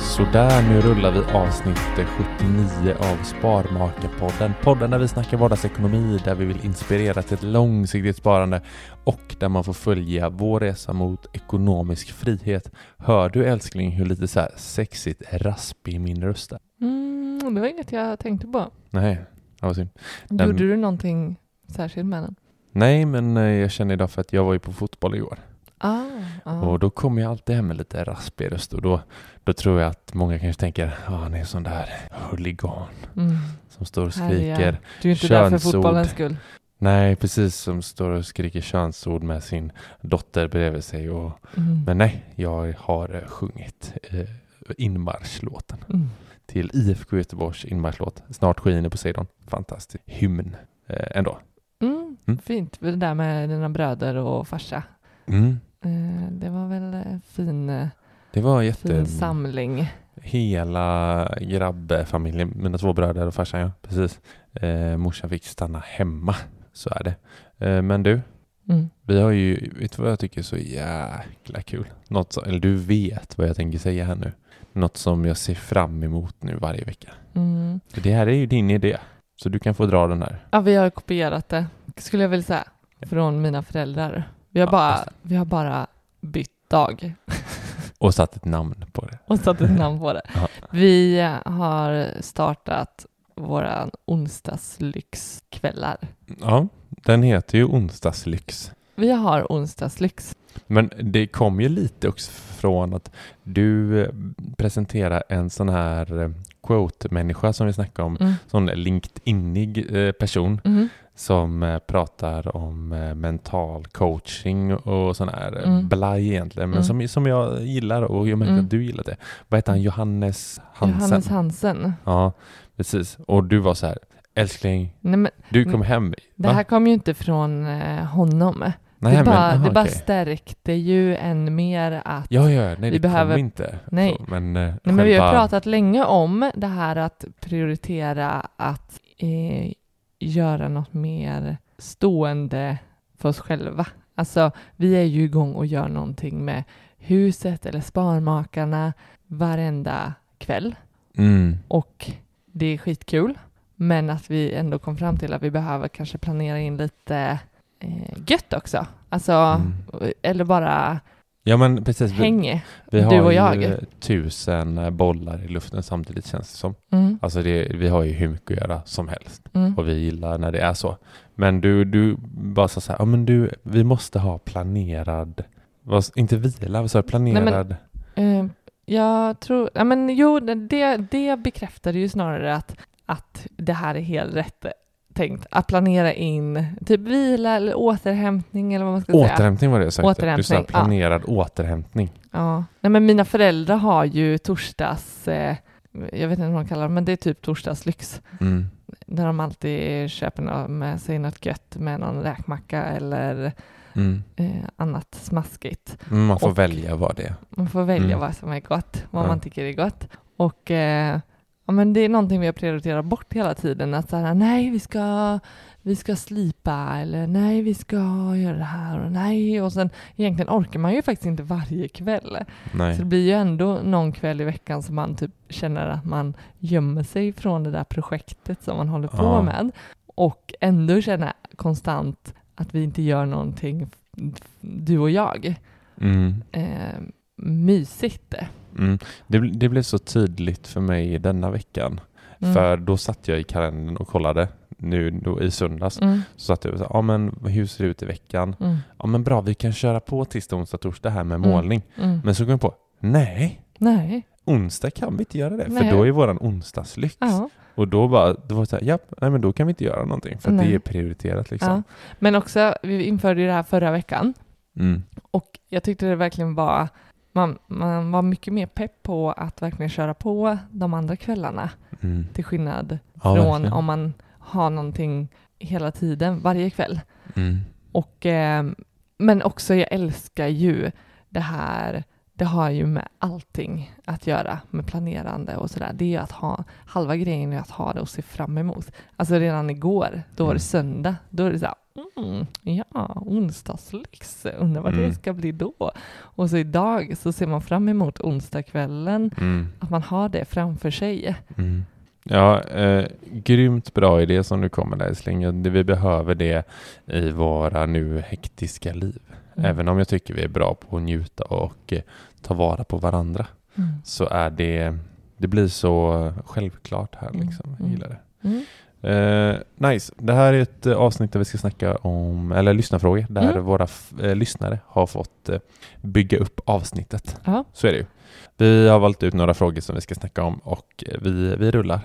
Sådär, nu rullar vi avsnitt 79 av Sparmakarpodden. Podden där vi snackar vardagsekonomi, där vi vill inspirera till ett långsiktigt sparande och där man får följa vår resa mot ekonomisk frihet. Hör du älskling hur lite så här sexigt raspig min röst är? Mm, det var inget jag tänkte på. Nej, det var synd. Den- Gjorde du någonting särskilt med den? Nej, men eh, jag känner idag för att jag var ju på fotboll igår Ah, ah. och då kommer jag alltid hem med lite raspig röst och då, då tror jag att många kanske tänker, ja han är en sån där huligan Mm. som står och Härliga. skriker Du är inte där för Könsord. fotbollens skull. Nej, precis som står och skriker könsord med sin dotter bredvid sig. Och, Mm. men nej, jag har eh, sjungit eh, inmarschlåten Mm. till IFK Göteborgs inmarschlåt. Snart skiner på sedan. Fantastisk hymn eh, ändå. Mm. Mm. Fint, det där med dina bröder och farsa. Mm. Eh, Det var väl en fin, eh, Det var fin jätte... samling. Hela grabbfamiljen, mina två bröder och farsan ja, precis. Eh, morsan fick stanna hemma, så är det. Eh, men du, Mm. Vi har ju, vet du vad jag tycker är så jäkla kul? Något som, eller du vet vad jag tänker säga här nu. Något som jag ser fram emot nu varje vecka. Mm. För det här är ju din idé. Så du kan få dra den här. Ja, vi har kopierat det, skulle jag vilja säga, från mina föräldrar. Vi har, Ja, bara, nästan. vi har bara bytt dag Och satt ett namn på det. och satt ett namn på det. Ja. Vi har startat våra onsdagslyxkvällar. Ja, den heter ju Onsdagslyx. Vi har onsdagslyx. Men det kom ju lite också från att du eh, presenterar en sån här eh, quote-människa som vi snackade om. Mm. Sån LinkedInig eh, person. Mm. som eh, pratar om eh, mental coaching och sån här eh, Mm. blaj egentligen, men Mm. som, som jag gillar och jag märker Mm. att du gillar det. Vad heter han? Johannes Hansen? Johannes Hansen. Ja, precis. Och du var så här, älskling, Nej, men du kom hem. det Va? här kom ju inte från eh, honom. Nej, det men, bara, aha, det bara okej. stärkte ju än mer att Ja, ja, nej, Vi det behöver... behöver- kom inte. Nej. Så, men, eh, Nej, men vi har ju själva- pratat länge om det här att prioritera att eh, göra något mer stående för oss själva. Alltså, vi är ju igång och gör någonting med huset eller Sparmakarna varenda kväll Mm. och det är skitkul. Men att vi ändå kom fram till att vi behöver kanske planera in lite eh, gött också. Alltså, Mm. eller bara Ja, men precis. Vi, häng. vi du har och ju jag. eh, tusen eh, bollar i luften samtidigt känns det som. Mm, Alltså, det, vi har ju hur mycket att göra som helst. mm. och vi gillar när det är så. Men du, du bara sa så här, ja men du, vi måste ha planerad, vad, inte vila, vad sa du, planerad? Nej, Eh, jag tror, ja, men jo, det, det bekräftade ju snarare att, att det här är helt rätt eh, tänkt. Att planera in typ vila eller återhämtning eller vad man ska säga. återhämtning var det jag sa. Du Återhämtning, sa ja. planerad återhämtning. Ja. Nej, men mina föräldrar har ju torsdags, eh, jag vet inte vad de kallar det, men det är typ torsdagslyx. Mm. När de alltid köper nå- med sig något gött med någon räkmacka eller Mm. eh, annat smaskigt. Mm, Man får Och- välja vad det är. Man får välja Mm. vad som är gott, vad Ja. man tycker är gott. Och eh, ja, men det är någonting vi har prioriterat bort hela tiden. Att så här, nej, vi ska, vi ska slipa eller nej, vi ska göra det här och nej. Och sen egentligen orkar man ju faktiskt inte varje kväll. Så Nej. det blir ju ändå någon kväll i veckan som man typ känner att man gömmer sig från det där projektet som man håller på Ja. med. Och ändå känner konstant att vi inte gör någonting, f- du och jag, Mm. eh, mysigt. Mm. Det, bl- det blev så tydligt för mig denna veckan. Mm. För då satt jag i kalendern och kollade, nu då, i söndags, Mm, så satt jag och sa, ja men hur ser det ut i veckan? mm, Ja men bra, vi kan köra på tisdag, onsdag, torsdag här med Mm. målning. mm. Men så kom jag på, nej, Nej, onsdag kan vi inte göra det, Nej. för då är våran onsdagslyx. ja, Och då bara, då var det så här, japp, nej men då kan vi inte göra någonting, för att Nej. det är prioriterat liksom. ja. Men också, vi införde ju det här förra veckan Mm. och jag tyckte det verkligen var, man, man var mycket mer pepp på att verkligen köra på de andra kvällarna Mm. till skillnad Ja, från verkligen. om man har någonting hela tiden, varje kväll. Mm. Och, eh, men också, jag älskar ju det här, det har ju med allting att göra, med planerande och sådär. Det är ju att ha, halva grejen är att ha det och se fram emot. Alltså redan igår, då var Mm. det söndag, då är det så här, mm, ja, onsdagslyx, undrar vad Mm. det ska bli då. Och så idag så ser man fram emot onsdagskvällen, Mm. att man har det framför sig. Mm. Ja, eh, grymt bra idé som du kommer där Isling. Vi behöver det i våra nu hektiska liv. Mm. Även om jag tycker vi är bra på att njuta och eh, ta vara på varandra Mm. så är det, det blir så självklart här Mm. liksom. Jag Mm. gillar det. Mm. Eh, nice. Det här är ett eh, avsnitt där vi ska snacka om, eller lyssnarfrågor, där Mm. våra f- eh, lyssnare har fått eh, bygga upp avsnittet. Ja. Så är det ju. Vi har valt ut några frågor som vi ska snacka om och eh, vi, vi rullar.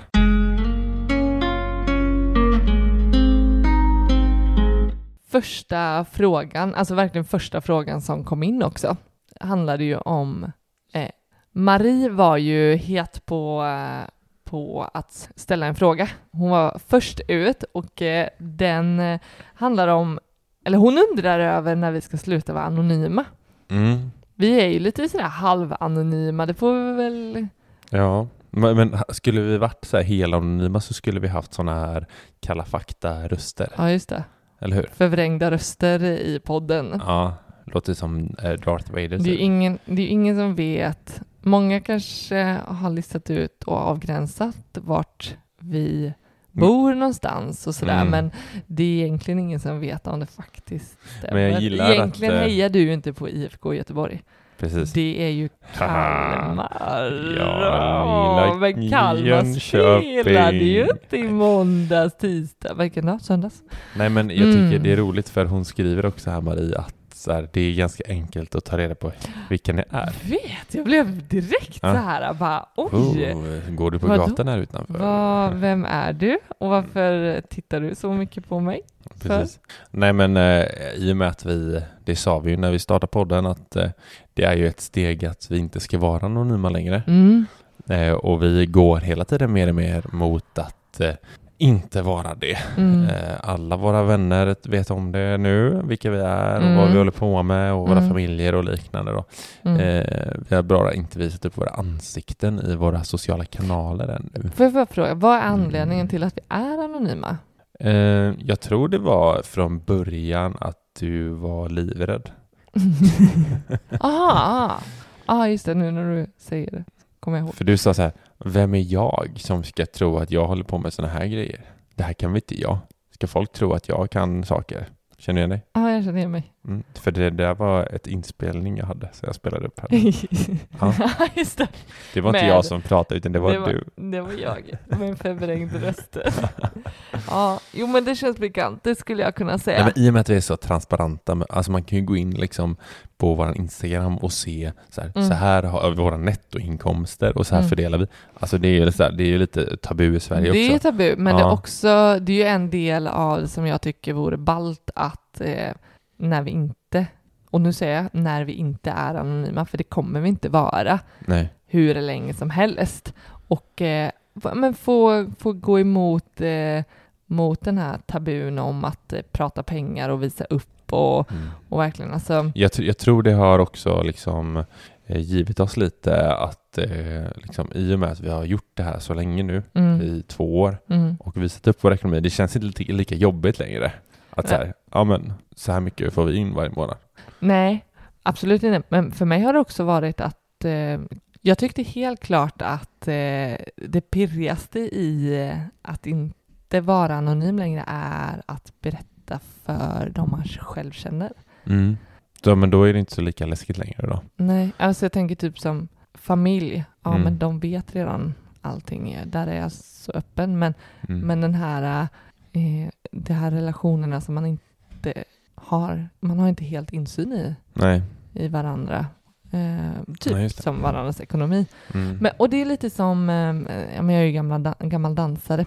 Första frågan, alltså verkligen första frågan som kom in också, handlade ju om eh, Marie var ju het på, eh, på att ställa en fråga. Hon var först ut och eh, den eh, handlar om, eller hon undrar över när vi ska sluta vara anonyma. Mm. Vi är ju lite sådär halvanonyma, det får vi väl... Ja, men, men ha- skulle vi varit så här helanonyma så skulle vi haft sådana här kalla fakta-röster, Ja, just det. eller hur? Förvrängda röster i podden. Ja, låter som eh, Darth Vader. Mm. Det är, ju typ. ingen, det är ju ingen som vet. Många kanske har listat ut och avgränsat vart vi bor någonstans och sådär, Mm. men det är egentligen ingen som vet om det faktiskt stämmer. Men jag gillar att, egentligen eh, hejar du ju inte på IFK Göteborg. Precis. Det är ju Kalmar. Ja, Åh, men Kalmar Jönköping. spelade ju inte i måndags, tisdag, varken natt, söndags. Nej men jag tycker Mm. det är roligt för hon skriver också här Marie att så här, det är ganska enkelt att ta reda på vilka ni är. Vet, jag blev direkt Ja. så här, bara oj. Ah. Oh, går du på Vadå? gatan här utanför? Vad- vem är du och varför tittar du så mycket på mig? Precis. Nej men eh, i och med att vi, det sa vi ju när vi startade podden, att eh, det är ju ett steg att vi inte ska vara anonyma längre. Mm. Eh, och vi går hela tiden mer och mer mot att eh, inte vara det. Mm. Eh, alla våra vänner vet om det nu, vilka vi är och Mm. vad vi håller på med och våra Mm. familjer och liknande. Då. Mm. Eh, vi har bara inte visat upp våra ansikten i våra sociala kanaler ännu. Får jag bara fråga, vad är Mm. anledningen till att vi är anonyma? Eh, jag tror det var från början att du var livrädd. Aha, ah, just det, nu när du säger det kommer jag ihåg. För du sa så här, vem är jag som ska tro att jag håller på med sådana här grejer? Det här kan väl inte jag? Ska folk tro att jag kan saker? Känner du igen dig? Ja, ah, jag känner igen mig. Mm. För det där var ett inspelning jag hade, så jag spelade upp här. Ja. just det, Det var inte Med- jag som pratade, utan det var, det var- du. det var jag med en förvrängd röst. Ja, jo men det känns bekant, det skulle jag kunna säga. Nej, men I och med att vi är så transparenta, men- alltså man kan ju gå in liksom på vår Instagram och se så här, Mm. så här har vi våra nettoinkomster och så här Mm. fördelar vi. Alltså det är ju så här, det är ju lite tabu i Sverige det är också. tabu, men det, Ja. är också, det är ju en del av det som jag tycker vore ballt att eh, när vi inte, och nu säger jag när vi inte är anonyma, för det kommer vi inte vara Nej. hur länge som helst. Och eh, va- men få, få gå emot eh, mot den här tabun om att eh, prata pengar och visa upp och, Mm. och verkligen alltså, Jag, tr- jag tror det har också liksom eh, givit oss lite att eh, liksom, i och med att vi har gjort det här så länge nu, mm, i två år, mm, och visat upp vår ekonomi, det känns inte lika- lika jobbigt längre. Att så här, ja men så här mycket får vi in varje månad. Nej, absolut inte. Men för mig har det också varit att eh, jag tyckte helt klart att eh, det pirrigaste i eh, att inte vara anonym längre är att berätta för de man själv känner. Mm. Ja, men då är det inte så lika läskigt längre då. Nej, alltså jag tänker typ som familj. Ja, Mm. men de vet redan allting. Där är jag så öppen. Men, Mm. men den här, eh, de här relationerna som man inte har, man har inte helt insyn i. Nej. i varandra. Eh, typ Ja, just det. som varandras ekonomi. Mm. Men, och det är lite som, eh, ja, men jag är ju gamla, da- gammal dansare,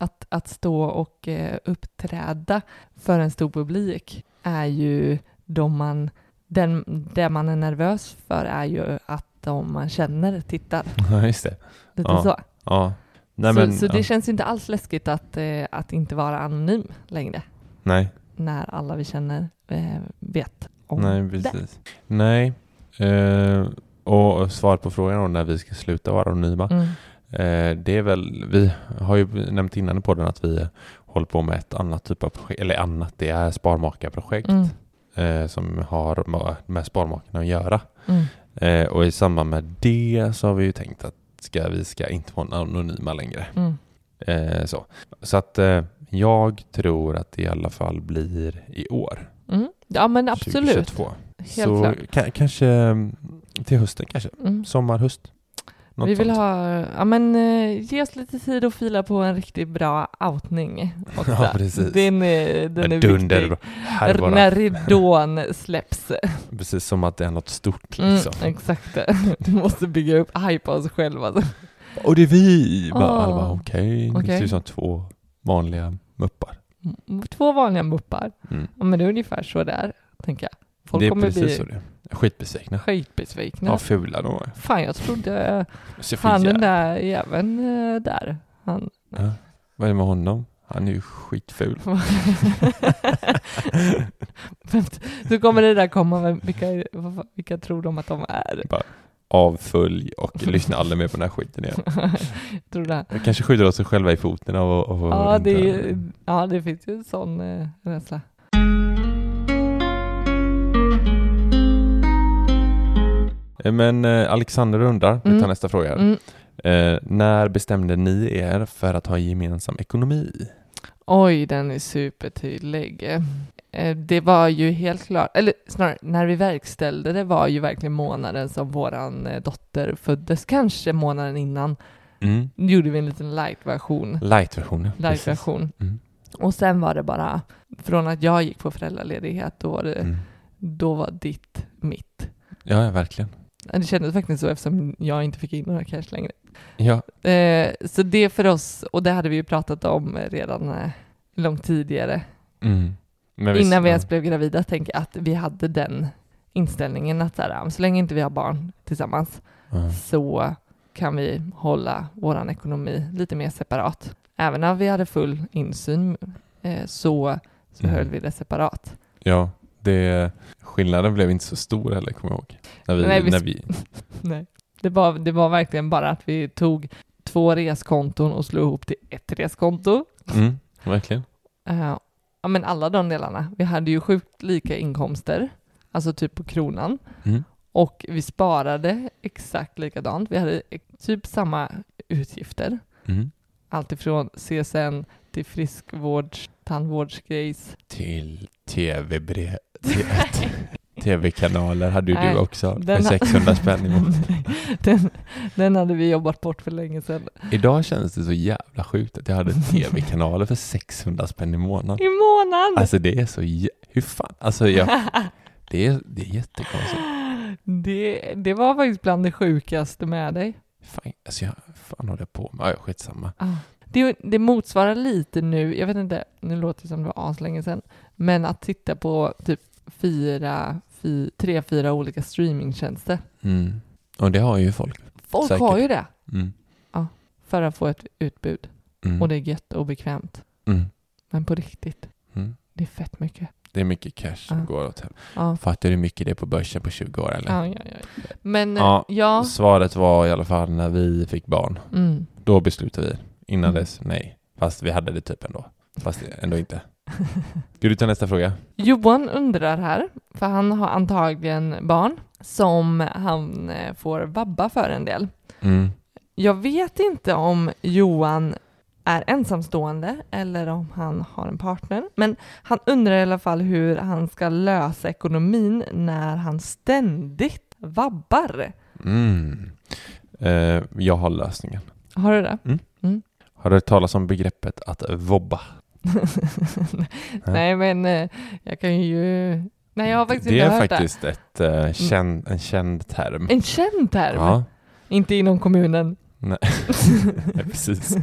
att, att stå och eh, uppträda för en stor publik är ju då man, den, det man är nervös för är ju att de man känner tittar. Ja, just det. Lite Ja, så. Ja. Nej, så men, så det ja. känns ju inte alls läskigt att, eh, att inte vara anonym längre Nej, när alla vi känner eh, vet om nej det. precis. Nej. Eh, och svar på frågan om när vi ska sluta vara anonyma. Mm. Eh, det är väl, vi har ju nämnt innan i podden att vi håller på med ett annat typ av projekt, eller annat, det är sparmakarprojekt Mm. eh, som har ma- med sparmakarna att göra. Mm. Eh, och i samband med det så har vi ju tänkt att ska, vi ska inte vara anonyma längre. Mm. Eh, så. så att eh, jag tror att det i alla fall blir i år. Mm. Ja, men absolut. 2022. Helt Så klart. ka- kanske mm, till hösten kanske. Mm. Sommar, höst. Något Vi vill sånt. ha, ja men eh, ge oss lite tid att fila på en riktigt bra outning också. Ja, precis. Den är, den är Dunder. viktig. Här bara. När ridån släpps. Precis som att det är något stort Mm, liksom. exakt. Du måste bygga upp hype av alltså. oss själva. Och det är vi! Bara, Ah. alla bara okej, det ser Okej. ut som två vanliga muppar. Mm, Två vanliga muppar. Mm. Ja, men det är ungefär så där, tänker jag. Folk det är kommer precis bli så det är. Skitbesvikna. skitbesvikna. Ja, fula de är. Fan, jag trodde Ser för han den jävla- där jäveln eh, där, han. Ja. Vad är det med honom? Han är ju skitful. Så kommer det där komma, vem- vilka, vad- vilka tror de att de är? Avfölj och lyssna aldrig mer på den här skiten igen. tror det. De kanske skjuter oss själva i foten av och, och Ja, det, är- ja, det finns ju en sån eh, rädsla. Men eh, Alexander undrar, vi tar Mm. nästa fråga. här. Mm. Eh, när bestämde ni er för att ha gemensam ekonomi? Oj, den är supertydlig. Eh, Det var ju helt klart, eller snarare när vi verkställde det var ju verkligen månaden som våran eh, dotter föddes, kanske månaden innan. Mm. Nu gjorde vi en liten light-version. Light-versionen. precis. Light-version. Mm. Och sen var det bara, från att jag gick på föräldraledighet, då var, det, Mm. då var ditt mitt. Ja, ja, verkligen. Det kändes verkligen så eftersom jag inte fick in några cash längre. Ja, Eh, så det för oss, och det hade vi ju pratat om eh, redan eh, långt tidigare, Mm. Men visst, innan vi ja. ens blev gravida, tänker jag att vi hade den inställningen att så, här, ah, så länge inte vi har barn tillsammans Ja. så kan vi hålla vår ekonomi lite mer separat. Även om vi hade full insyn eh, så, så Mm. höll vi det separat. ja, det, skillnaden blev inte så stor heller, kommer jag ihåg. När vi, Nej, vi- när vi, Nej. Det, var, det var verkligen bara att vi tog två reskonton och slog ihop till ett reskonto. mm, verkligen. Eh, ja, men alla de delarna. Vi hade ju sjukt lika inkomster, alltså typ på kronan. Mm. Och vi sparade exakt likadant. Vi hade ex- typ samma utgifter. Mm. Alltifrån CSN till friskvårds, tandvårdsgrejs. Till tv-brev. Tv-kanaler hade ju Nej, du också för den har- 600 spänn i månaden. den, den hade vi jobbat bort för länge sedan. Idag känns det så jävla sjukt att jag hade tv-kanaler för 600 spänn i månaden. I månaden! Alltså det är så jä... Hur fan? Alltså jag... Det är, det är jättekonstigt. Det, det var faktiskt bland det sjukaste med dig. Fan, alltså jag... fan håller jag på med? Ja, skitsamma. Det, det motsvarar lite nu, jag vet inte, nu låter det som det var aslänge sedan, men att titta på typ fyra, fy, tre, fyra olika streamingtjänster. Mm. Och det har ju folk. Folk Säkert. har ju det Mm. för att få ett utbud. Mm. Och det är gött och bekvämt. Mm. Men på riktigt, Mm. det är fett mycket. Det är mycket cash som Ja. går åt helvete. Ja. Fattar du hur mycket det är på börsen på 20 år eller? Ja, ja, ja. Men Ja. ja, ja. Svaret var i alla fall när vi fick barn. Mm. Då beslutade vi. Innan Mm. dess, nej. Fast vi hade det typ ändå. Fast ändå inte. Ska du ta nästa fråga? Johan undrar här, för han har antagligen barn som han eh, får vabba för en del. Mm. Jag vet inte om Johan är ensamstående eller om han har en partner. Men han undrar i alla fall hur han ska lösa ekonomin när han ständigt vabbar. Mm. Eh, jag har lösningen. Har du det? Har du hört talas om begreppet att vobba? Nej, men eh, jag kan ju... Nej, jag har faktiskt det inte är hört faktiskt ett, eh, känd, en känd term. det. En känd term. Ja, Inte inom kommunen. ja, precis.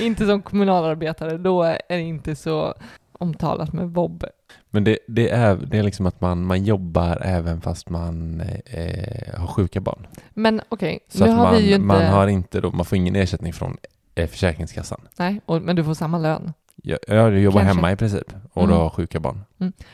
Inte som kommunalarbetare. Då är det inte så omtalat med Bob. Men det, det, är, det är liksom att man, man jobbar även fast man eh, har sjuka barn. Men okej, Så nu att har man, vi ju inte... man, har inte då, man får ingen ersättning från eh, Försäkringskassan. Nej, och, men du får samma lön. Jag, jag jobbar Kanske. hemma i princip och Mm. då har sjuka barn.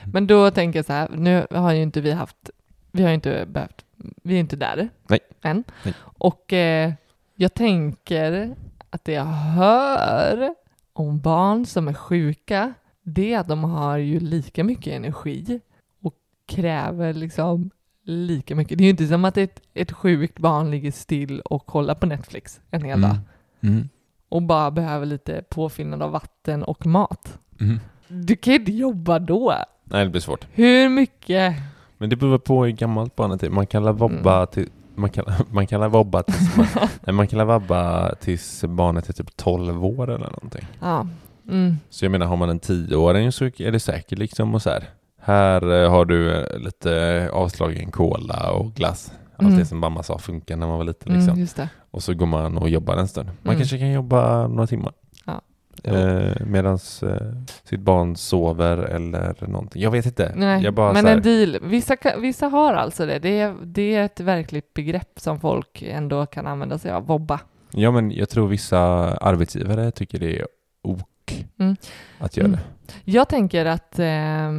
Men då tänker jag så här, nu har ju inte vi haft, vi har ju inte behövt, vi är inte där Nej. än. Nej. Och eh, jag tänker att det jag hör om barn som är sjuka, det är att de har ju lika mycket energi och kräver liksom lika mycket. Det är ju inte som att ett, ett sjukt barn ligger still och kollar på Netflix en hel dag Mm. Mm. och bara behöver lite påfyllnad av vatten och mat. Mm. Du kan ju inte jobba då. Nej, det blir svårt. Hur mycket? Men det beror på hur gammalt barnet är. Man Mm. kan la vobba till... Man kan, man kan la vobba tills man, nej, man kan la vabba tills barnet är typ 12 år eller någonting. Ja. Mm. Så jag menar, har man en 10-åring så är det säkert liksom och så här. Här eh, har du eh, lite avslagen cola och glass. Allt Mm. det som mamma sa funkar när man var liten liksom. Mm, just det. Och så går man och jobbar en stund. Man Mm. kanske kan jobba några timmar. Ja. Eh, Medan eh, sitt barn sover eller någonting. Jag vet inte. Nej, jag bara men så här, en deal. Vissa, ka- vissa har alltså det. Det är, det är ett verkligt begrepp som folk ändå kan använda sig av. Vobba. Ja men jag tror vissa arbetsgivare tycker det är ok Mm. att göra Mm. Jag tänker att eh,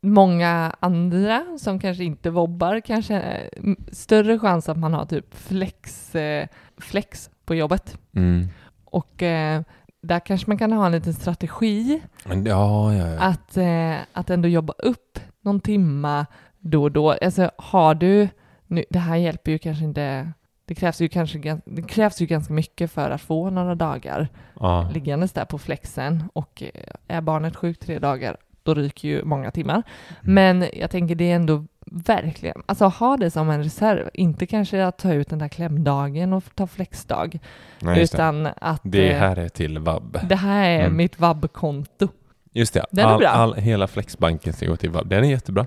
många andra som kanske inte vobbar kanske eh, m- större chans att man har typ flex, eh, flex på jobbet. det. Mm. Och eh, där kanske man kan ha en liten strategi Men, ja, ja, ja. att, eh, att ändå jobba upp någon timma då och då. Alltså har du, nu, det här hjälper ju kanske inte, det krävs ju, kanske, gan- det krävs ju ganska mycket för att få några dagar ja. liggandes där på flexen och eh, är barnet sjukt tre dagar, då ryker ju många timmar. Mm. Men jag tänker det är ändå verkligen, alltså ha det som en reserv, inte kanske att ta ut den där klämdagen och ta flexdag, Nej, just det. utan att det eh, här är till vab. det här är Mm. mitt vab-konto. Just det, Den är all, bra. all, hela flexbanken ska gå till vab. Den är jättebra.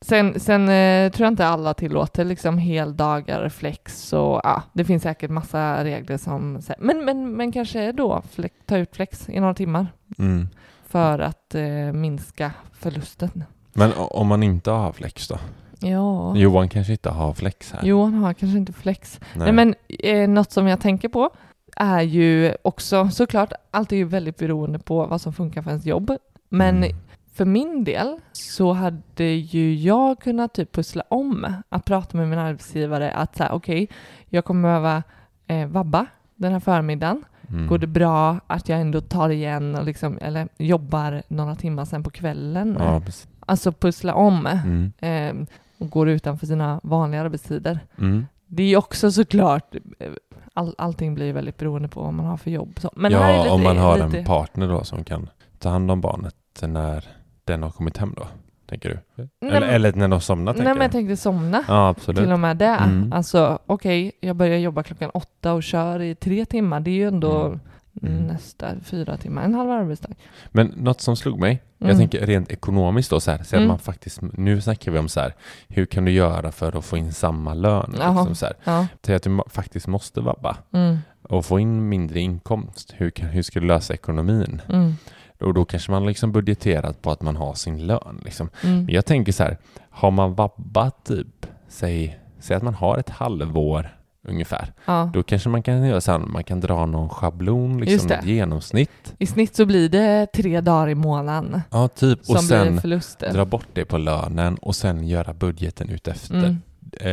Sen, sen eh, tror jag inte alla tillåter liksom heldagar, flex och ja, det finns säkert massa regler som sä- men, men, men kanske då flex, ta ut flex i några timmar Mm. för att eh, minska förlusten. Men o- om man inte har flex då? Ja, Johan kanske inte har flex här. Johan har kanske inte flex. Nej, men eh, något som jag tänker på är ju också såklart, allt är ju väldigt beroende på vad som funkar för ens jobb. Men Mm. för min del så hade ju jag kunnat typ pussla om att prata med min arbetsgivare att så här, okej, jag kommer behöva eh, vabba den här förmiddagen. Mm. Går det bra att jag ändå tar igen och liksom, eller jobbar några timmar sen på kvällen? Ja, precis. Alltså pussla om Mm. eh, och går utanför sina vanliga arbetstider. Mm. Det är ju också såklart, eh, all, allting blir väldigt beroende på vad man har för jobb. Så, men här är ja, lite, om man har lite- en partner då som kan ta hand om barnet när den har kommit hem då, tänker du? Nej, eller, men- eller när de somnar, Nej tänker men jag tänkte somna. Ja, absolut. Till och med det. Mm. Alltså okej, jag börjar jobba klockan åtta och kör i tre timmar. Det är ju ändå Mm. Mm. nästa fyra timmar, en halv arbetsdag. Men något som slog mig, Mm. jag tänker rent ekonomiskt då så här, så att Mm. man faktiskt, nu snackar vi om så här, hur kan du göra för att få in samma lön? Jaha. Liksom så här, Ja. till att du ma- faktiskt måste vabba Mm. och få in mindre inkomst. Hur, kan, hur ska du lösa ekonomin? Mm. Och då kanske man liksom budgeterat på att man har sin lön. Liksom. Mm. Men jag tänker så här, har man vabbat typ, säg, säg att man har ett halvår ungefär, Ja. då kanske man kan göra så här, man kan dra någon schablon, Just liksom det. ett genomsnitt. I snitt så blir det tre dagar i månaden Ja, typ. som och sen, blir förluster. dra bort det på lönen och sen göra budgeten utefter Mm.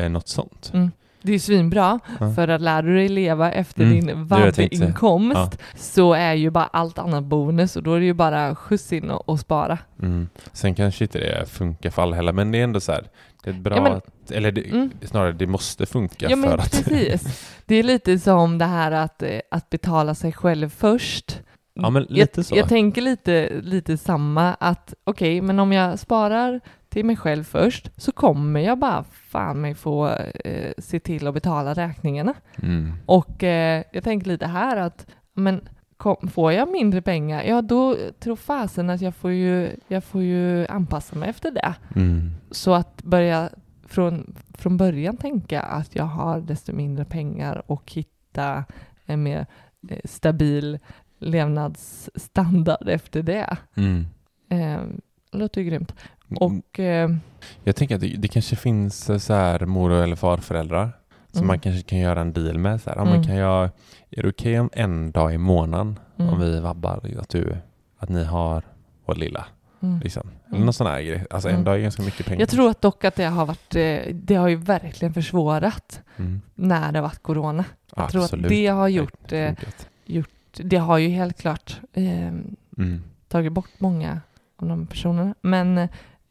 eh, något sånt. Mm. Det är ju svinbra, Ja. för att lär du dig leva efter Mm, det din var det jag tänkte säga. vabbinkomst Ja. så är ju bara allt annat bonus och då är det ju bara skjuts in och, och spara. Mm. Sen kanske inte det funkar för alla heller, men det är ändå så här, det är ett bra, Ja, men- eller det, Mm. snarare det måste funka Ja för men att... precis. Det är lite som det här att, eh, att betala sig själv först. Ja, men lite jag, så. jag tänker lite, lite samma att okej, men om jag sparar till mig själv först så kommer jag bara fan mig få eh, se till att betala räkningarna. Mm. Och eh, jag tänker lite här att men, kom, får jag mindre pengar, ja då tror fasen att jag får, ju, jag får ju anpassa mig efter det. Mm. Så att börja från, från början tänka att jag har desto mindre pengar och hitta en mer eh, stabil levnadsstandard efter det. Mm. Eh, låter ju grymt. Och eh, Jag tänker att det, det kanske finns eh, så här mor eller farföräldrar som Mm. man kanske kan göra en deal med. Så här, ja, men Mm. kan jag, är det okej om en dag i månaden mm, om vi vabbar att, du, att ni har vår lilla? mm. Liksom. Eller Mm. någon sån här grej. Alltså en Mm. dag är ganska mycket pengar. jag tror att dock att det har varit, eh, det har ju verkligen försvårat Mm. när det har varit corona. Jag tror Absolut. att det har gjort, eh, funkat. gjort det har ju helt klart eh, Mm. tagit bort många av de personerna. Men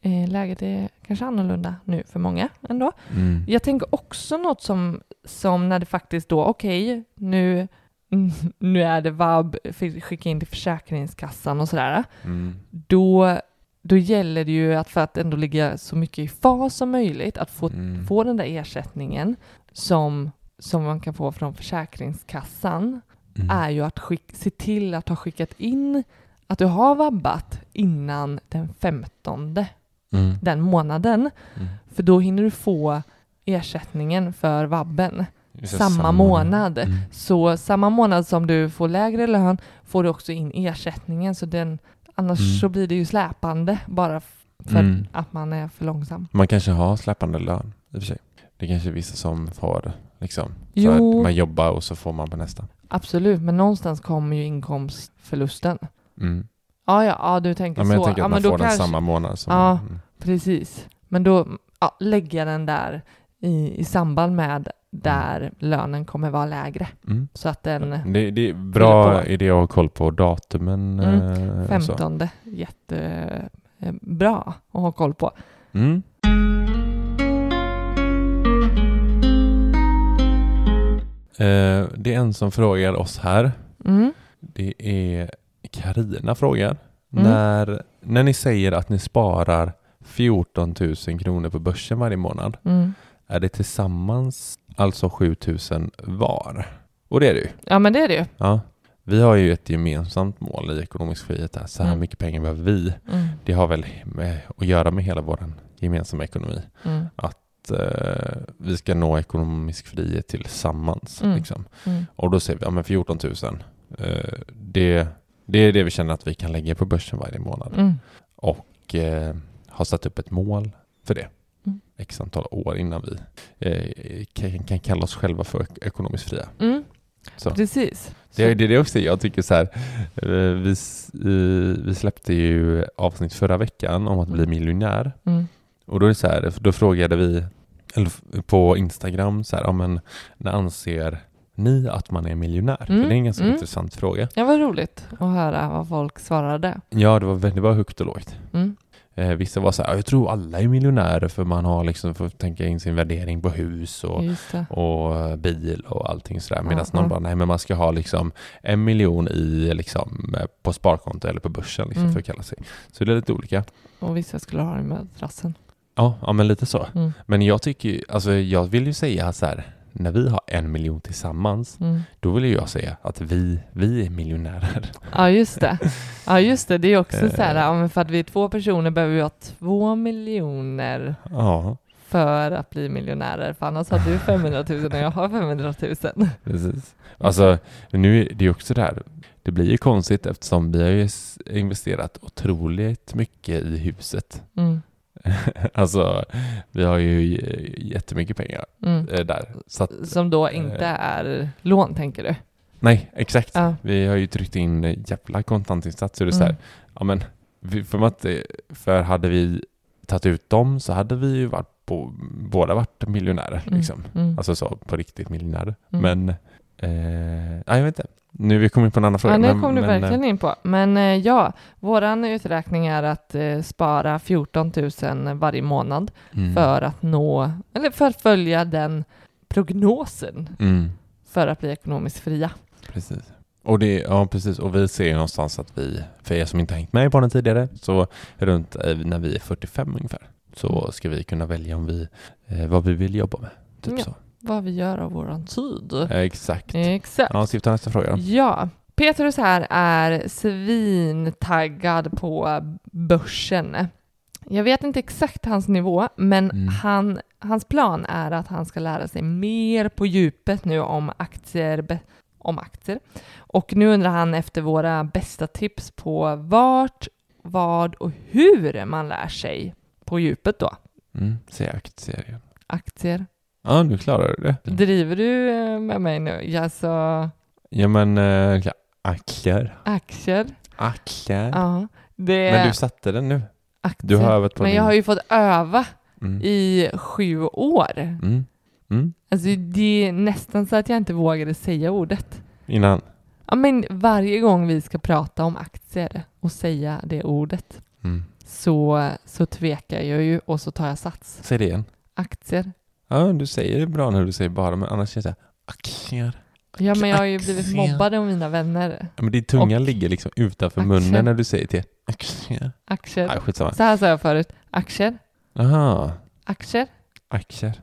eh, läget är kanske annorlunda nu för många ändå. Mm. Jag tänker också något som, som när det faktiskt då, okej, nu, nu är det vab, skicka in till Försäkringskassan och sådär. Mm. Då, då gäller det ju att för att ändå ligga så mycket i fas som möjligt, att få, Mm. få den där ersättningen som, som man kan få från Försäkringskassan Mm. är ju att skick, se till att ha skickat in att du har vabbat innan den 15, Mm. den månaden. Mm. För då hinner du få ersättningen för vabben Just det, samma, månad. Mm. Så samma månad som du får lägre lön får du också in ersättningen. Så den, annars Mm. så blir det ju släpande bara f- för Mm. att man är för långsam. Man kanske har släpande lön i och för sig. Det kanske är vissa som får liksom. Jo. För att man jobbar och så får man på nästa. Absolut, men någonstans kommer ju inkomstförlusten. Mm. Ja, ja, ja du Ja, tänker men så. jag tänker att ja, man då får den kanske- samma månad som Ja. mm. Precis. Men då ja, lägga den där i, i samband med där lönen kommer vara lägre. Mm. Så att den Det, det är bra på. idé att ha koll på datumen. Mm. eh, och så. 15 jättebra eh, att ha koll på. Mm. Eh, det är en som frågar oss här. Mm. Det är Karina frågar. Mm. När, när ni säger att ni sparar 14 000 kronor på börsen varje månad, Mm. är det tillsammans alltså 7 000 var? Och det är det ju. Ja men det är det ju. Ja. Vi har ju ett gemensamt mål i ekonomisk frihet. Här. Så här Mm. mycket pengar behöver vi. Mm. Det har väl med, att göra med hela vår gemensamma ekonomi. Mm. Att, eh, vi ska nå ekonomisk frihet tillsammans. Mm. Liksom. Mm. Och då säger vi ja, men 14 000. Eh, det, det är det vi känner att vi kan lägga på börsen varje månad. Mm. Och eh, har satt upp ett mål för det. Mm. X antal år innan vi eh, kan, kan kalla oss själva för ek- ekonomiskt fria. Mm. Så. Precis. Det är det är det också jag tycker så här. eh, Vi, s- eh, vi släppte ju avsnitt förra veckan om att bli miljonär. Mm. Och då är det så här, då frågade vi eller f- på Instagram så här, ja men när anser ni att man är miljonär? Mm, För det är en ganska mm. intressant fråga. Ja vad roligt att höra vad folk svarade. Ja, det var, vä- det var högt och lågt. Mm. Eh, vissa var så här, "Ja, jag tror alla är miljonärer för man har liksom, får tänka in sin värdering på hus och Just det. och eh, bil och allting sådär. Medan Mm. Ja, någon ja. bara, nej men man ska ha liksom en miljon i, liksom, eh, på sparkonto eller på börsen liksom, Mm. för att kalla sig. Så det är lite olika. Och vissa skulle ha det med madrassen. Ja, ja men lite så. Mm. Men jag tycker ju- alltså jag vill ju säga så här, när vi har en miljon tillsammans, Mm. då vill ju jag säga att vi, vi är miljonärer. Ja just det. Ja just det, det är också så här, Eh. ja, men för att vi är två personer behöver vi ha två miljoner Ja, för att bli miljonärer. För annars har du 500 000 och jag har 500 000. precis. Alltså, nu är det ju också det här, det blir ju konstigt eftersom vi har ju s- investerat otroligt mycket i huset. Mm, Alltså, vi har ju eh, jättemycket pengar mm. eh, där. Så att, Som då Eh. inte är lån tänker du? nej, exakt. Ja. Vi har ju tryckt in eh, jävla kontantinsats. Så det är så här, Mm. ja men, vi, för, att, eh, för hade vi tagit ut dem så hade vi ju varit på, båda varit miljonärer. Mm, Liksom. mm. Alltså så, på riktigt miljonärer. Mm. Men, eh, nej, jag vet inte. Nu vi kommer in på en annan fråga. Ja, det men- kom du men, eh, verkligen in på. Men eh, ja, våran uträkning är att eh, spara 14 000 varje månad eh, mm, för att nå, eller för att följa den prognosen Mm, för att bli ekonomiskt fria. precis. Och, det, ja, precis. och vi ser ju någonstans att vi, för er som inte har hängt med på den tidigare, så runt eh, när vi är 45 ungefär, Mm. så ska vi kunna välja om vi, eh, vad vi vill jobba med. Typ Ja. så. Vad vi gör av våran tid. Eh, Exakt. Exakt. Ja, ska vi ta nästa fråga? Ja, Petrus här är svintaggad på börsen. Jag vet inte exakt hans nivå, men Mm. han, hans plan är att han ska lära sig mer på djupet nu om aktier, be- om aktier. Och nu undrar han efter våra bästa tips på vart, vad och hur man lär sig på djupet då. Mm, se aktieserien. Aktier. Ja, nu klarar du det. Driver du eh, med mig nu? Alltså Ja, men eh, aktier. aktier? Aktier. Ja. Det Men du satte den nu. aktier. Du har övat på Men din. jag har ju fått öva Mm. i sju år. Mm. Mm. Alltså det är nästan så att jag inte vågade säga ordet. Innan. Ja, men varje gång vi ska prata om aktier och säga det ordet Mm. så, så tvekar jag ju och så tar jag sats. Säg det igen. Aktier. Ja, du säger det bra när du säger bara, men annars känns det här, aktier. Ja, men jag har ju blivit Aktier. mobbad av mina vänner. Ja, men din tunga Och- ligger liksom utanför Aktier. munnen när du säger till. Aktier. Aktier. Nej, skitsamma. Så här sa jag förut. Aktier. Aha. Aktier. Aktier.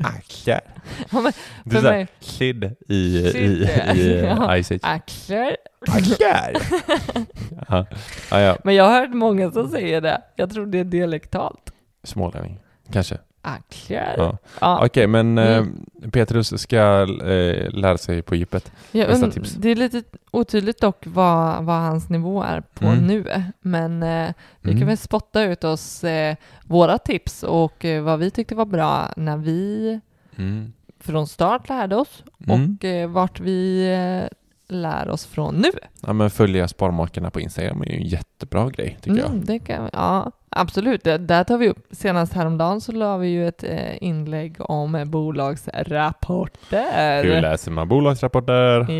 Aktier. Ja, men Du för är mig, kid i, i, Kid, i, i ja. Ice Age. aktier. Aktier! Jaha. ja, ja. Men jag har hört många som säger det. Jag tror det är dialektalt. Smålänning. Kanske. Aktier. Ja. Ja. Okej, men Mm. eh, Petrus ska eh, lära sig på djupet. Jag Bästa und- tips. Det är lite otydligt dock vad, vad hans nivå är på Mm. nu, men eh, vi Mm. kan väl spotta ut oss eh, våra tips och eh, vad vi tyckte var bra när vi Mm. från start lärde oss Mm. och eh, vart vi eh, lär oss från nu. Ja, men följa Sparmakarna på Instagram är ju en jättebra grej, tycker jag. Mm, det kan, ja, absolut. Det, där tar vi upp. Senast häromdagen så la vi ju ett eh, inlägg om eh, bolagsrapporter. Hur läser man bolagsrapporter? Det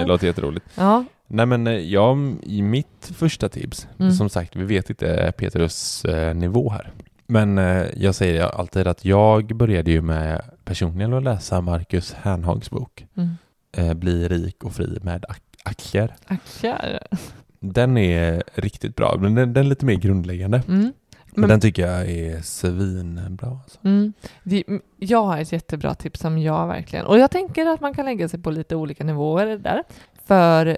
Ja. låter jätteroligt. Ja. Nej men eh, jag, i mitt första tips, Mm. som sagt vi vet inte Petrus eh, nivå här. Men eh, jag säger alltid att jag började ju med personligen att läsa Marcus Hernhags bok Mm. eh, Bli rik och fri med ak- aktier. Aktier. Den är riktigt bra, men den, den är lite mer grundläggande. Mm. Men, Men- den tycker jag är svinbra. Alltså. Mm. Det, m- jag har ett jättebra tips som jag verkligen... Och jag tänker att man kan lägga sig på lite olika nivåer där. För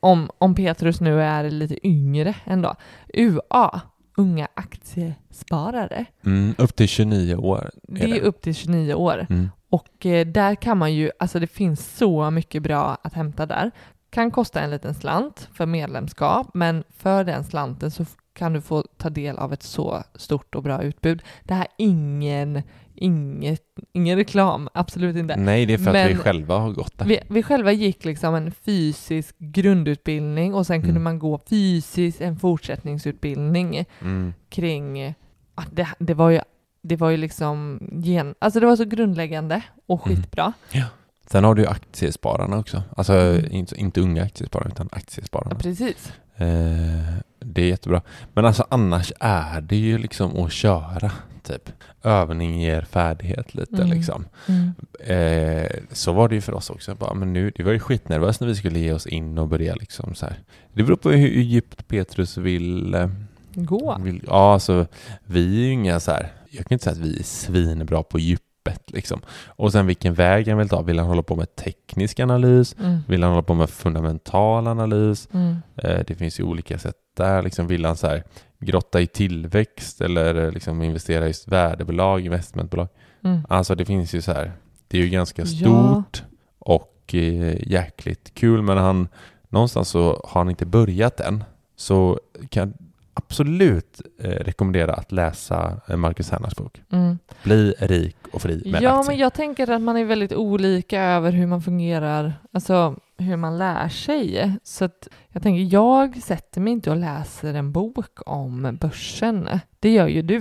om, om Petrus nu är lite yngre ändå. UA, unga aktiesparare. Mm, upp till 29 år. Det det? är upp till 29 år. Mm. Och eh, där kan man ju, alltså det finns så mycket bra att hämta där. Kan kosta en liten slant för medlemskap, men för den slanten så f- kan du få ta del av ett så stort och bra utbud. Det här är ingen, inget, ingen reklam, absolut inte. Nej, det är för att vi Men- själva har gått där. Vi, vi själva gick liksom en fysisk grundutbildning och sen kunde Mm. man gå fysiskt en fortsättningsutbildning Mm. kring, ja, det, det var ju det var ju liksom gen, alltså det var så grundläggande och Mm. skitbra. Sen har du ju aktiespararna också. Alltså Mm. inte, inte unga aktiesparare utan Ja, aktiespararna. precis. Eh, det är jättebra. Men alltså annars är det ju liksom att köra. Typ. Övning ger färdighet lite Mm. liksom. Eh, så var det ju för oss också. Bara, men nu, det var ju skitnervöst när vi skulle ge oss in och börja liksom så här. Det beror på hur hur djupt Petrus vill... Eh, Gå. vill ja, alltså vi är ju inga så här... Jag kan inte säga att vi är svinbra på djupet liksom. Och sen vilken väg han vill ta. Vill han hålla på med teknisk analys? Mm. Vill han hålla på med fundamental analys? Mm. Eh, Det finns ju olika sätt där. Liksom vill han så här grotta i tillväxt eller eh, liksom investera i just värdebolag, investmentbolag? Mm. Alltså det finns ju så här, det är ju ganska stort och eh, jäkligt kul men han, någonstans så har han inte börjat än. Så kan jag absolut eh, rekommendera att läsa eh, Marcus Hernars bok. Mm. Bli rik och fri med Ja, aktier. men alltså- jag tänker att man är väldigt olika över hur man fungerar, alltså hur man lär sig. Så att jag tänker, jag sätter mig inte och läser en bok om börsen. Det gör ju du.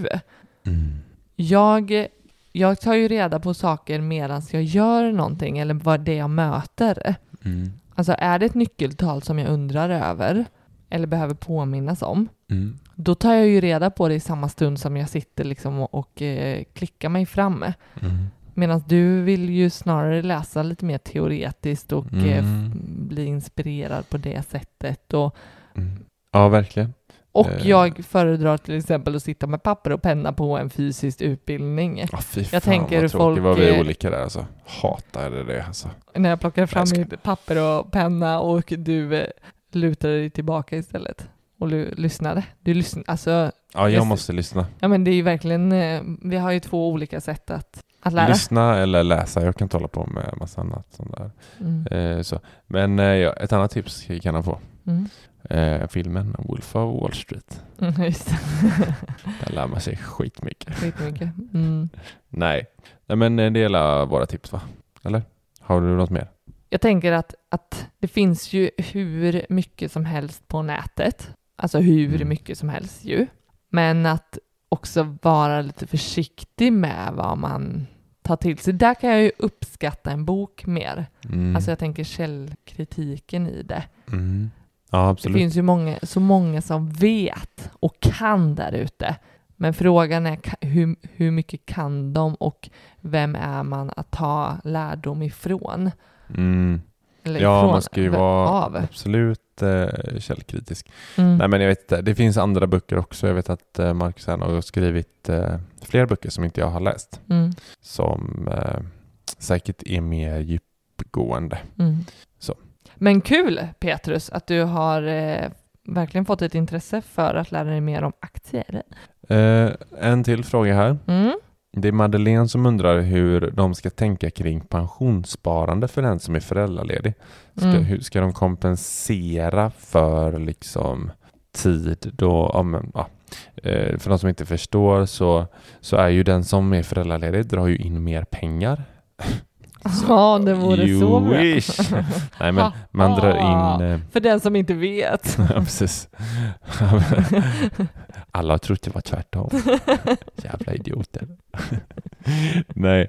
Mm. Jag, jag tar ju reda på saker medan jag gör någonting eller vad det jag möter. Mm. Alltså är det ett nyckeltal som jag undrar över eller behöver påminnas om, Mm. då tar jag ju reda på det i samma stund som jag sitter liksom och, och eh, klickar mig fram. Mm. Medan du vill ju snarare läsa lite mer teoretiskt och eh, f- Mm. bli inspirerad på det sättet. Och, Mm. Ja, verkligen. och Eh. jag föredrar till exempel att sitta med papper och penna på en fysisk utbildning. Ja, fy fan Jag tänker vad hur tråkigt folk eh, vad vi är är- olika där alltså. Hatade det alltså. När jag plockar fram Jag ska- mitt papper och penna och du eh, lutar dig tillbaka istället och lu- lyssnade. Du lyssn- alltså, Ja, jag Just- måste lyssna. ja men det är ju verkligen, eh, vi har ju två olika sätt att, att lära. Lyssna eller läsa. Jag kan inte hålla på med massa annat sånt där. Mm. Eh, så. Men eh, ja, ett annat tips kan han få. Mm. Eh, filmen Wolf of Wall Street. Mm, just det. Där lär man sig skitmycket. Skitmycket. Mm. Nej. Nej, men eh, det är alla våra tips va? Eller? Har du något mer? Jag tänker att, att det finns ju hur mycket som helst på nätet. Alltså hur Mm. mycket som helst ju. Men att också vara lite försiktig med vad man ta till sig. Där kan jag ju uppskatta en bok mer. Mm. Alltså jag tänker källkritiken i det. mm. Ja, absolut. Det finns ju många, så många som vet och kan där ute. Men frågan är ka- hur, hur mycket kan de och vem är man att ta lärdom ifrån? Mm. Eller Ja, ifrån, man ska ju v- vara av. absolut eh, källkritisk. Mm. Nej, men jag vet inte. Det finns andra böcker också. Jag vet att eh, Marcus Ernhag har skrivit eh, fler böcker som inte jag har läst. Mm, Som eh, säkert är mer djupgående. mm. Så. Men kul Petrus att du har eh, verkligen fått ett intresse för att lära dig mer om aktier. Eh, en till fråga här. Mm. Det är Madeleine som undrar hur de ska tänka kring pensionssparande för den som är föräldraledig. Ska, Mm. Hur ska de kompensera för liksom tid då? Ja, men, ja. Eh, För de som inte förstår så, så är ju den som är föräldraledig drar ju in mer pengar. Ja, det vore you så bra. wish! Nej men man drar in... eh, För den som inte vet. Ja, precis. Alla har trott det var tvärtom. Jävla idioter. Nej,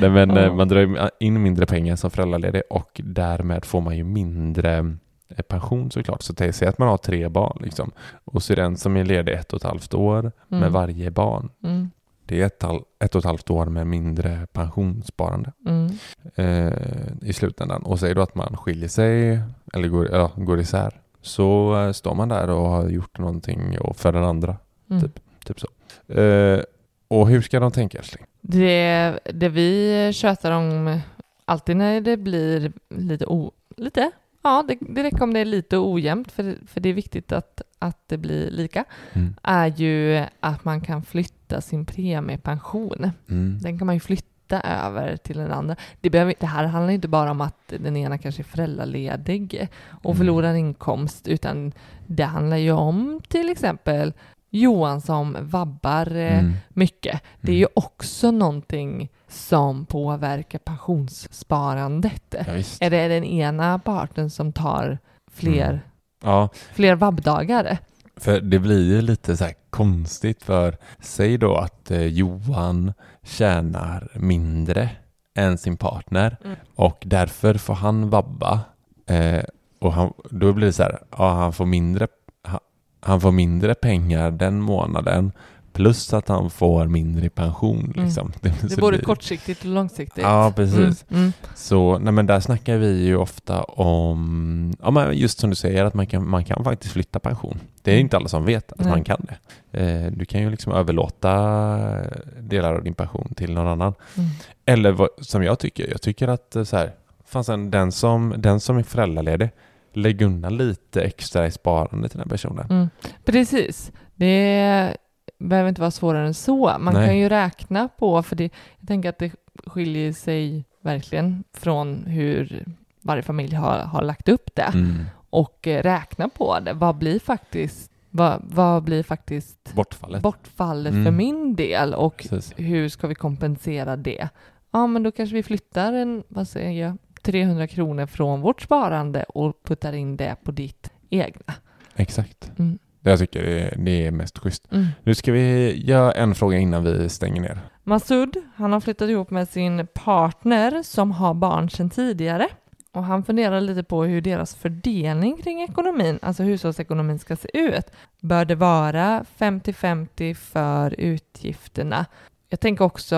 Nej men Ja. eh, man drar ju in mindre pengar som föräldraledig och därmed får man ju mindre eh, pension såklart. Så det- säg att man har tre barn liksom. och så är den som är ledig ett och ett halvt år med Mm, varje barn. mm, Det är ett, tal- ett och ett halvt år med mindre pensionssparande mm, eh, i slutändan. Och säg då att man skiljer sig eller går, ja, går isär. Så eh, står man där och har gjort någonting och för den andra. mm. Typ så. Eh, och hur ska de tänka älskling? Det, det vi tjötar om alltid när det blir lite, o, lite ja det, det räcker om det är lite ojämnt för, för det är viktigt att, att det blir lika, Mm. är ju att man kan flytta sin premiepension. Mm. Den kan man ju flytta över till den andra. Det, behöver, det här handlar inte bara om att den ena kanske är föräldraledig och Mm. förlorar inkomst, utan det handlar ju om till exempel Johan som vabbar eh, Mm. mycket. Det är Mm. ju också någonting som påverkar pensionssparandet. Ja, visst. Är det den ena parten som tar fler, Mm. ja, fler vabbdagar? för det blir ju lite så här konstigt för säg då att eh, Johan tjänar mindre än sin partner Mm. och därför får han vabba eh, och han, då blir det så här, ja han får mindre ha- han får mindre pengar den månaden plus att han får mindre i pension Mm. liksom. Det är både kortsiktigt och långsiktigt. Ja, precis. Mm, mm, Så nej men där snackar vi ju ofta om, ja, men just som du säger, att man kan, man kan faktiskt flytta pension. Det är inte alla som vet att Mm. Nej. man kan det. Eh, du kan ju liksom överlåta delar av din pension till någon annan. mm, Eller vad, som jag tycker, jag tycker att eh, så här, fan sen, den, som, den som är föräldraledig, lägg undan lite extra i sparande till den personen. mm. Precis. Det behöver inte vara svårare än så. Man Nej. kan ju räkna på, för det, jag tänker att det skiljer sig verkligen från hur varje familj har, har lagt upp det. Mm. och eh, räkna på det. Vad blir faktiskt, vad, vad blir faktiskt Bortfallet. bortfallet för Mm. min del och Precis. hur ska vi kompensera det? Ja, men då kanske vi flyttar en, vad säger jag, 300 kronor från vårt sparande och puttar in det på ditt egna. Exakt. Mm. Det jag tycker det är, det är mest schysst. Mm. Nu ska vi göra en fråga innan vi stänger ner. Masud, han har flyttat ihop med sin partner som har barn sedan tidigare. Och han funderar lite på hur deras fördelning kring ekonomin, alltså hushållsekonomin, ska se ut. Bör det vara 50-50 för utgifterna? Jag tänker också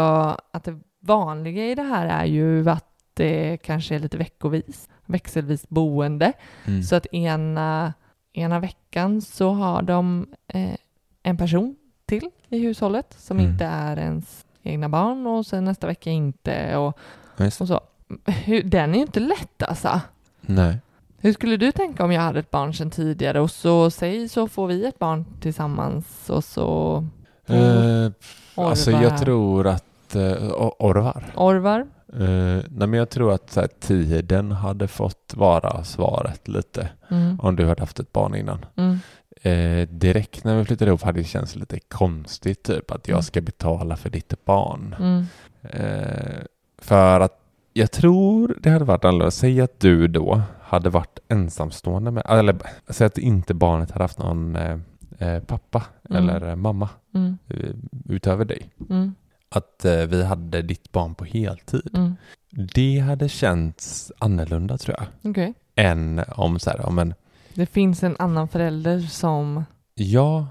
att det vanliga i det här är ju att det kanske är lite veckovis, växelvis boende. Mm. Så att ena, ena veckan så har de eh, en person till i hushållet som Mm. inte är ens egna barn och sen nästa vecka inte och, Visst. och så. Hur, den är ju inte lätt alltså. Nej. Hur skulle du tänka om jag hade ett barn sedan tidigare och så säg så får vi ett barn tillsammans och så Mm. Eh, alltså Orvar. jag tror att... eh, o- orvar? Orvar. Eh, nej men jag tror att så här, tiden hade fått vara svaret lite Mm, om du hade haft ett barn innan. mm, Eh, direkt när vi flyttade ihop hade det känts lite konstigt typ att Mm. jag ska betala för ditt barn. mm, Eh, för att jag tror det hade varit annorlunda. Säg att du då hade varit ensamstående med, eller säg att inte barnet hade haft någon eh, eh, pappa Mm. eller eh, mamma mm, eh, utöver dig. mm, att eh, vi hade ditt barn på heltid. Mm. Det hade känts annorlunda tror jag. Okej. Än om så här, ja men Det finns en annan förälder som... ja, Som en-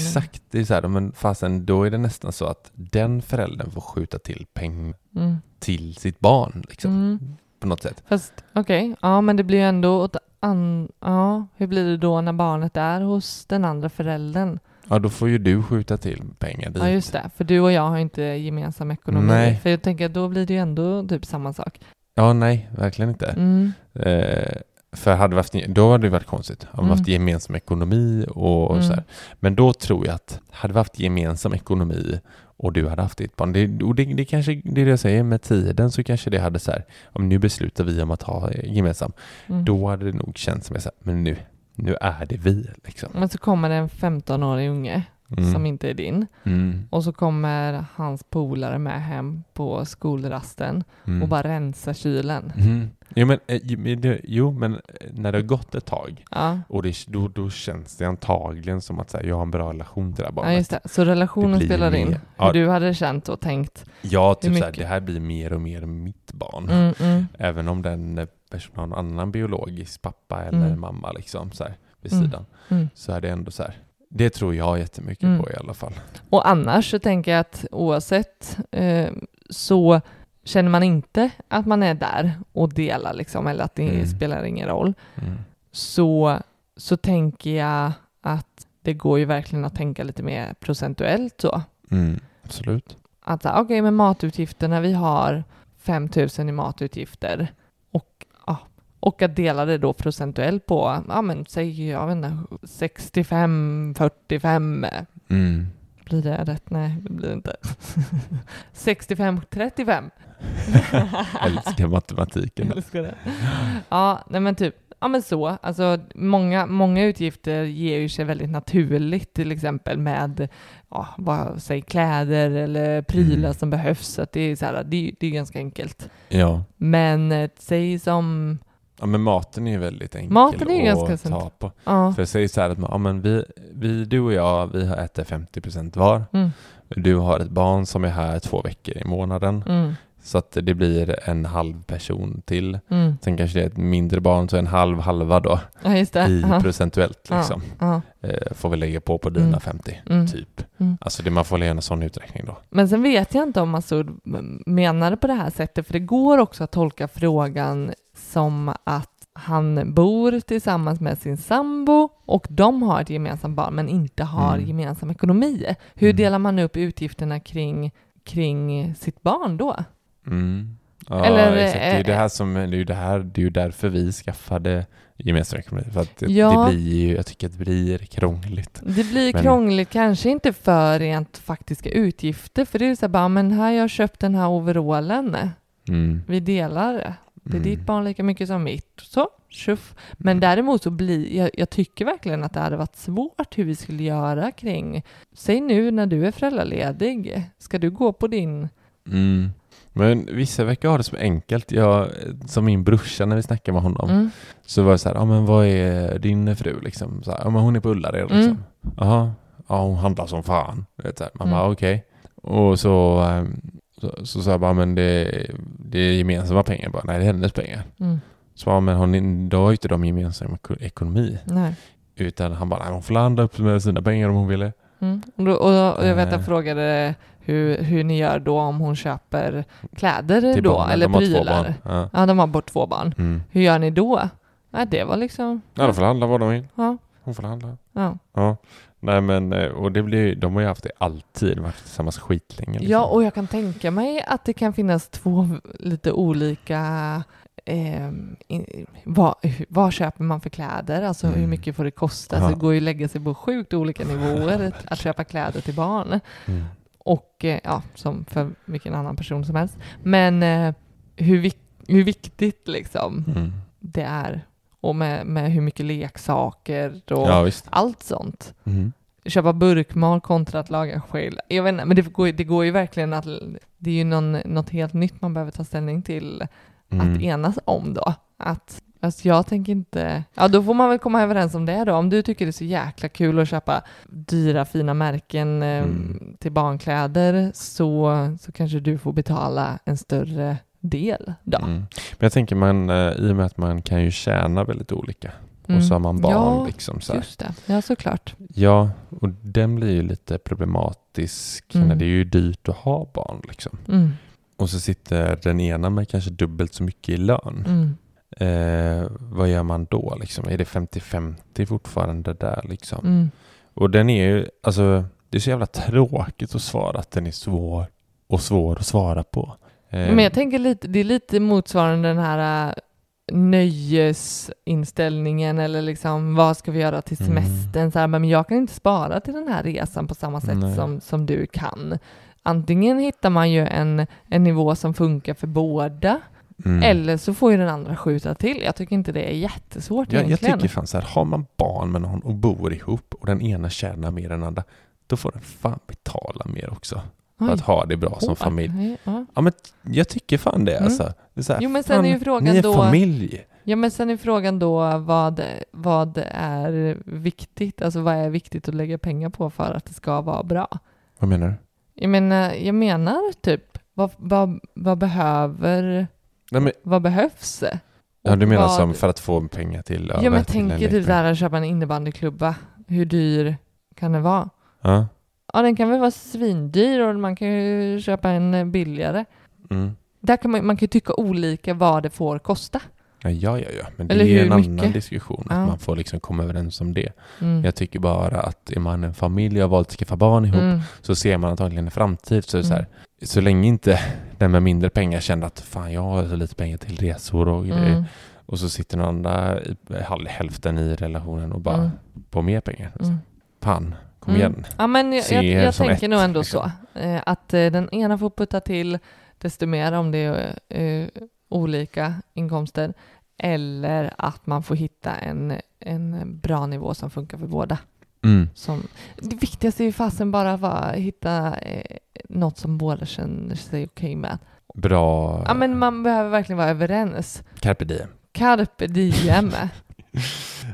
exakt. Det är så här, ja, men fasen då är det nästan så att den föräldern får skjuta till pengar Mm. till sitt barn liksom, Mm. på något sätt. Fast okej, ja men det blir ju ändå åt an... Ja, hur blir det då när barnet är hos den andra föräldern? Ja, då får ju du skjuta till pengar dit. Ja just det, för du och jag har inte gemensam ekonomi. Nej. För jag tänker att då blir det ju ändå typ samma sak. Ja, nej, verkligen inte. Mm. Eh, för hade vi haft, då hade det varit konstigt. Hade vi Mm. haft gemensam ekonomi och, och Mm. så här. Men då tror jag att hade vi haft gemensam ekonomi och du hade haft ditt barn. Det, och det, det kanske det är det jag säger med tiden så kanske det hade så här. Om nu beslutar vi om att ha gemensam. Mm. Då hade det nog känts som jag så här, men nu, nu är det vi liksom. Men så kommer det en 15-årig unge Mm. som inte är din. Mm. Och så kommer hans polare med hem på skolrasten Mm. och bara rensar kylen. Mm. Jo, men, eh, jo, men det- jo, men eh, när det har gått ett tag Ja, och det, då, då känns det antagligen som att så här, jag har en bra relation till det här barnet. ja just det. Så Det relationen blir spelar in. mer. Hur Ja. du hade känt och tänkt. Ja, typ Hur såhär, mycket? det här blir mer och mer mitt barn. Mm, mm. Även om den eh, personen har en annan biologisk pappa eller Mm. mamma liksom, såhär, vid Mm. sidan. Mm. Så är det ändå så Det tror jag jättemycket Mm. på i alla fall. Och annars så tänker jag att oavsett eh, så känner man inte att man är där och delar liksom, eller att det Mm. spelar ingen roll, Mm. så, så tänker jag att det går ju verkligen att tänka lite mer procentuellt så. Mm. Absolut. Att så här, okej, men matutgifterna, vi har 5 000 i matutgifter och, ja, och att dela det då procentuellt på, ja men säg, jag vet inte, 65, 45 Mm. blir det rätt? Nej, det blir det inte. 65-35. Älskar matematiken. där. Älskar det. Ja, nej men typ, ja men så. Alltså många, många utgifter ger ju sig väldigt naturligt, till exempel med, ja, vad säg kläder eller prylar Mm. som behövs. Så att det är så här, det, är- det är ganska enkelt. Ja. Men eh, säg som, ja, men maten är ju väldigt enkel Maten är ju ganska att ta central. på. ja, För jag säger så här att man- ja, men vi, vi, du och jag, vi har ätit 50% var. mm, Du har ett barn som är här två veckor i månaden. mm, Så att det blir en halv person till. mm. Sen kanske det är ett mindre barn, så en halv halva då ja just det. i Ja, procentuellt liksom. ja, Eh, får vi lägga på på dina Mm. 50, mm. typ. Mm. Alltså det, man får väl göra en sån uträkning då. Men sen vet jag inte om Masoud menar det på det här sättet, för det går också att tolka frågan som att han bor tillsammans med sin sambo och de har ett gemensamt barn men inte har Mm. gemensam ekonomi. Hur Mm. delar man upp utgifterna kring, kring sitt barn då? Mm. Ja, Eller, exakt. Det är ju eh, det här som, det är ju det här, det är ju därför vi skaffade gemensam ekonomi. För att det, Ja. det blir ju, jag tycker att det blir krångligt. Det blir Men- krångligt, kanske inte för rent faktiska utgifter, för det är ju så här, bara, men här har jag köpt den här overallen, Mm. vi delar det. Det är Mm. ditt barn lika mycket som mitt. Så, tjoff. Men däremot så blir, jag, jag tycker verkligen att det hade varit svårt hur vi skulle göra kring, säg nu när du är föräldraledig, ska du gå på din, Mm. Men vissa verkar ha det så enkelt. Jag, som min brorsa när vi snackade med honom. mm, Så var det så här, ja men vad är din fru liksom? Så här, ja men hon är på Ullared liksom. Mm. Jaha, ja hon handlar som fan. Du Vet, så här. Man Mm. bara okej. Och så, ehm, så, så sa jag bara, men det, det är gemensamma pengar. Jag Bara, Nej det är hennes pengar. mm, Så ja, men hon, då har ju inte de gemensam eko- ekonomi. nej. Utan han bara, nej hon får handla upp med sina pengar om hon ville. Mm. Och, då, och, och jag vet att Eh. jag frågade hur, hur ni gör då om hon köper kläder då, barnen. eller de har två prylar. barn. Ja. Ja, de har bort två barn. Mm. Hur gör ni då? Ja, det var liksom, ja, de får handla vad de vill. ja, Hon får handla. ja. Ja. Nej men, eh, och det blir ju- de har ju haft det alltid, varit tillsammans skitlänge. liksom. Ja, och jag kan tänka mig att det kan finnas två lite olika... Eh, in- vad, vad köper man för kläder? Alltså Mm. hur mycket får det kosta? Ja. Alltså, det går ju att lägga sig på sjukt olika nivåer att köpa kläder till barn. Mm. Och eh, ja, som för vilken annan person som helst. Men eh, hur, vik- hur viktigt liksom Mm. det är. Och med, med hur mycket leksaker och Ja visst. allt sånt Mm. köpa burkmal kontra att laga själv. Jag vet inte, men det går, ju- det går ju verkligen att... Det är ju någon, något helt nytt man behöver ta ställning till Mm. att enas om då. Att Alltså jag tänker inte... Ja, då får man väl komma överens om det då. Om du tycker det är så jäkla kul att köpa dyra fina märken eh, Mm. till barnkläder så, så kanske du får betala en större del då. Mm. Men jag tänker man, eh, i och med att man kan ju tjäna väldigt olika. Mm. Och så har man barn Ja, liksom så här. Just det. Ja, såklart. Ja, och den blir ju lite problematisk Mm. när det är ju dyrt att ha barn liksom. Mm. Och så sitter den ena med kanske dubbelt så mycket i lön. Mm. Eh, vad gör man då liksom? Är det 50-50 fortfarande där liksom? Mm. Och den är ju, alltså det är så jävla tråkigt att svara att den är svår och svår att svara på. Eh, Men jag tänker lite, det är lite motsvarande den här äh, nöjesinställningen eller liksom vad ska vi göra till Mm. semestern? Så här, men jag kan inte spara till den här resan på samma sätt Nej. som, som du kan. Antingen hittar man ju en, en nivå som funkar för båda mm. eller så får ju den andra skjuta till. Jag tycker inte det är jättesvårt jag, jag egentligen. tycker fan så här, har man barn med någon och bor ihop och den ena tjänar mer än den andra, då får den fan betala mer också. För Oj. att ha det bra som Åh, familj. nej, ja. Ja, men jag tycker fan det Mm. alltså. Det är så här, Jo, men sen fan, är ju frågan ni är då- familj. Ja, men sen är frågan då vad, vad är viktigt? Alltså vad är viktigt att lägga pengar på för att det ska vara bra? Vad menar du? Jag menar, jag menar typ, vad, vad, vad behöver, Nej, men, vad behövs? ja, du Och menar vad- som för att få pengar till Ja, över men till tänk en dig det lekplats. där att köpa en innebandyklubba. Hur dyr kan den vara? Ja, Ja, den kan väl vara svindyr och man kan ju köpa en eh, billigare. mm. Där kan man, man kan ju tycka olika vad det får kosta. ja, ja, ja, ja. Men det Eller är ju hur en annan mycket? diskussion. Ja. Att man får liksom komma överens om det. Mm. Jag tycker bara att är man en familj och har valt att skaffa barn ihop Mm. så ser man antagligen en framtid. Så, är det Mm. så, här, så länge inte den med mindre pengar kände att fan jag har så lite pengar till resor och grejer. Mm. Och så sitter den andra i, hal- hälften i relationen och bara liksom. Mm. på mer pengar. Mm. Fan, kom Mm. igen. Ja, men jag, Se jag, er jag som tänker ett, nog ändå liksom. så. Eh, att eh, den ena får putta till desto mer om det är eh, olika inkomster. Eller att man får hitta en, en bra nivå som funkar för båda. Mm. Som, det viktigaste är ju fasen bara att vara- hitta eh, något som båda känner sig okej med. Bra Ja, men man behöver verkligen vara överens. carpe diem. Carpe diem.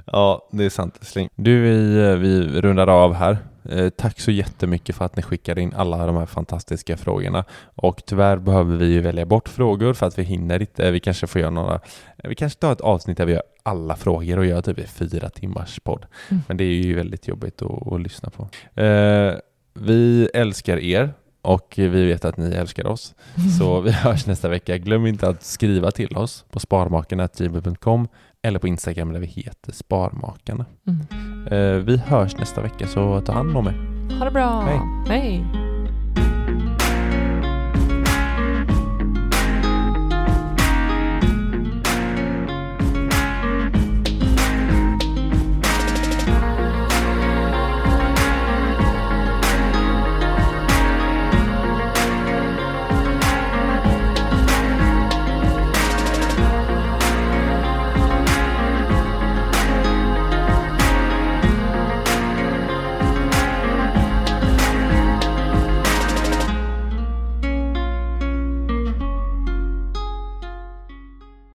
Ja, det är sant. Sling. Du, vi, eh, vi rundar av här. Eh, tack så jättemycket för att ni skickade in alla de här fantastiska frågorna. Och tyvärr behöver vi ju välja bort frågor för att vi hinner inte. Eh, Vi kanske får göra några... eh, Vi kanske tar ett avsnitt där vi gör alla frågor och gör typ en fyra timmars podd. Mm. Men det är ju väldigt jobbigt att, att lyssna på. Eh, vi älskar er och vi vet att ni älskar oss. Så vi hörs nästa vecka. Glöm inte att skriva till oss på sparmakarna.gmail.com eller på Instagram där vi heter Sparmakarna. Mm. Eh, Vi hörs nästa vecka så ta hand om er. Ha det bra. Hej. Hej.